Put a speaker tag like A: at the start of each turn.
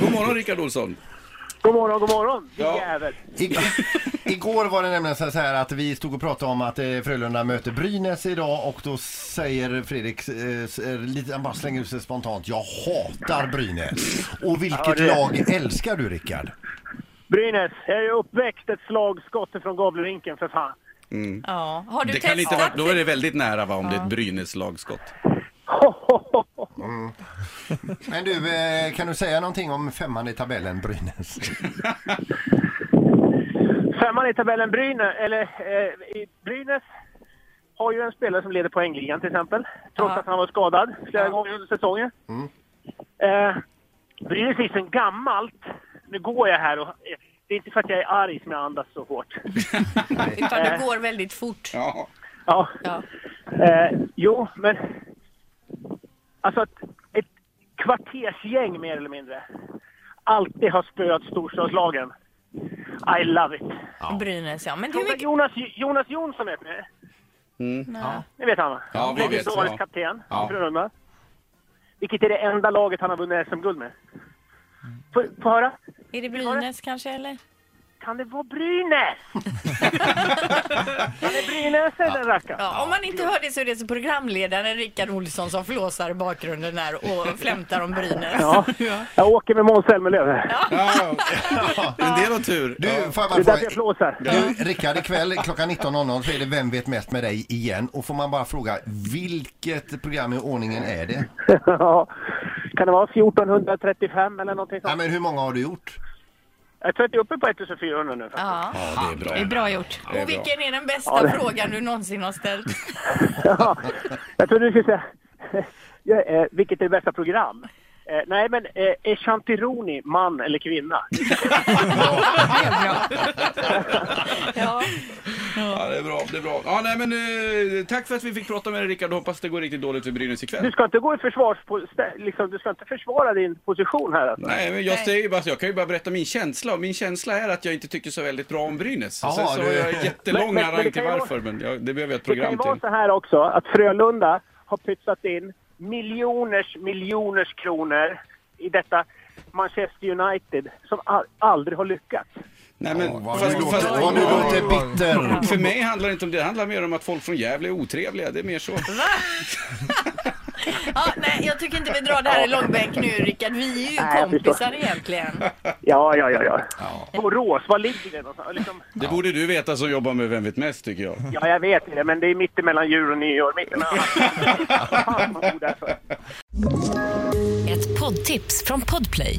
A: God morgon Rickard Olsson.
B: God morgon, god morgon,
A: Ja.
B: din jävel.
C: I- Igår var det nämligen så här att vi stod och pratade om att eh, Frölunda möter Brynäs idag och då säger Fredrik, eh, s- eh, lite, han bara slänger ut sig spontant, jag hatar Brynäs. Och vilket
B: Ja, det-
C: lag älskar du Rickard?
B: Brynäs, jag är ju uppväxt ett slagskott ifrån Gavlerinken för fan.
D: Ja. Har du
A: Det
D: testat?
A: kan inte vara, då är det väldigt nära va, om det är ett Brynäs-lagskott.
C: Men du, eh, kan du säga någonting om femman i tabellen Brynäs?
B: Femman i tabellen Brynäs, eller eh, i Brynäs har ju en spelare som leder poängligan till exempel. Trots
D: Ja.
B: att han var skadad flera
D: Ja. Mm.
B: gånger under säsongen. Eh, Brynäs är ju sen gammalt. Nu går jag här och eh, det är inte för att jag är arg som jag andas så hårt.
D: Utan det går väldigt fort.
A: Ja.
B: Ja.
D: Ja.
B: Eh, jo, men... Alltså att ett kvartersgäng mer eller mindre alltid har spöat storstadslagen. I love it.
D: Brynäs, ja. Men hur
B: Fråga
D: mycket...
B: Jonas, Jonas Jonsson vet ni?
D: Ja.
B: Ni vet han va?
A: Ja, vi vet,
B: Dåvarande
A: ja.
B: kapten
A: Ja.
B: i Frölunda. Vilket är det enda laget han har vunnit SM-guld med. Få få höra?
D: Är det Brynäs kanske, eller?
B: Kan det vara Brynäs? kan det Brynäs är den rackaren?
D: Ja, om man inte hör det så är det så programledaren Rickard Olsson som flåsar i bakgrunden där och flämtar om Brynäs.
B: Ja. Jag åker med Måns Zelmerlöw.
A: Ja. En del har tur.
C: Du,
A: Ja.
C: får jag
B: Det är
C: bara
B: därför jag
C: fråga,
B: flåsar.
C: du, Rickard ikväll klockan 19.00 så är det Vem vet mest med dig igen och får man bara fråga vilket program i ordningen är det?
B: Ja. Kan det vara 1435 eller någonting
C: Ja,
B: sånt?
C: men hur många har du gjort?
B: Jag tror att jag är uppe på 1400 nu. faktiskt.
D: Ja.
A: Ja, det
D: Det
A: är
D: är
A: bra.
D: bra gjort.
A: det är
D: Och
A: bra.
D: vilken är den bästa
B: Ja, det-
D: frågan du någonsin har ställt?
B: Ja. Jag trodde du skulle säga, ja, eh, vilket är det bästa program? Eh, nej, men eh, är Chantironi man eller kvinna?
D: Ja.
A: Ja, det är bra. Det är bra. Ja, nej, men, eh, tack för att vi fick prata med dig Rickard. Hoppas det går riktigt dåligt för Brynäs
B: Du
A: ikväll.
B: ska inte gå i försvars... Liksom, du ska inte försvara din position här alltså.
A: Nej, men jag, säger ju bara, jag kan ju bara berätta min känsla. Och Min känsla är att jag inte tyckte så väldigt bra om Brynäs.
C: Ja,
A: Sen så
C: du-
A: har jag en jättelång
B: Men- men- men
A: harang
B: det
A: till
B: kan ju
A: varför, men jag, det behöver jag ett
B: Det kan ju
A: program
B: vara
A: till.
B: så här också att Frölunda har pytsat in miljoners, miljoners kronor i detta Manchester United som al- aldrig har lyckats.
A: Nej, men,
C: Vad
A: fast,
C: du
A: fast,
C: låter, vad du låter bitter.
A: för mig handlar det inte om det. Det handlar mer om att folk från Gävle är otrevliga. Det är mer så.
D: ja, nej, jag tycker inte vi drar det här i långbänk nu, Rickard. Vi är ju
B: Nej, jag förstår.
D: kompisar egentligen.
B: Ja, ja, ja. ja. Borås, var ligger det någonstans? Liksom,
A: Det borde du veta som jobbar med Vem vet mest, tycker jag.
B: ja, jag vet inte, men det är mittemellan jul och nyår. Mittemellan... Fan, vad god alltså.
E: Ett poddtips från Podplay.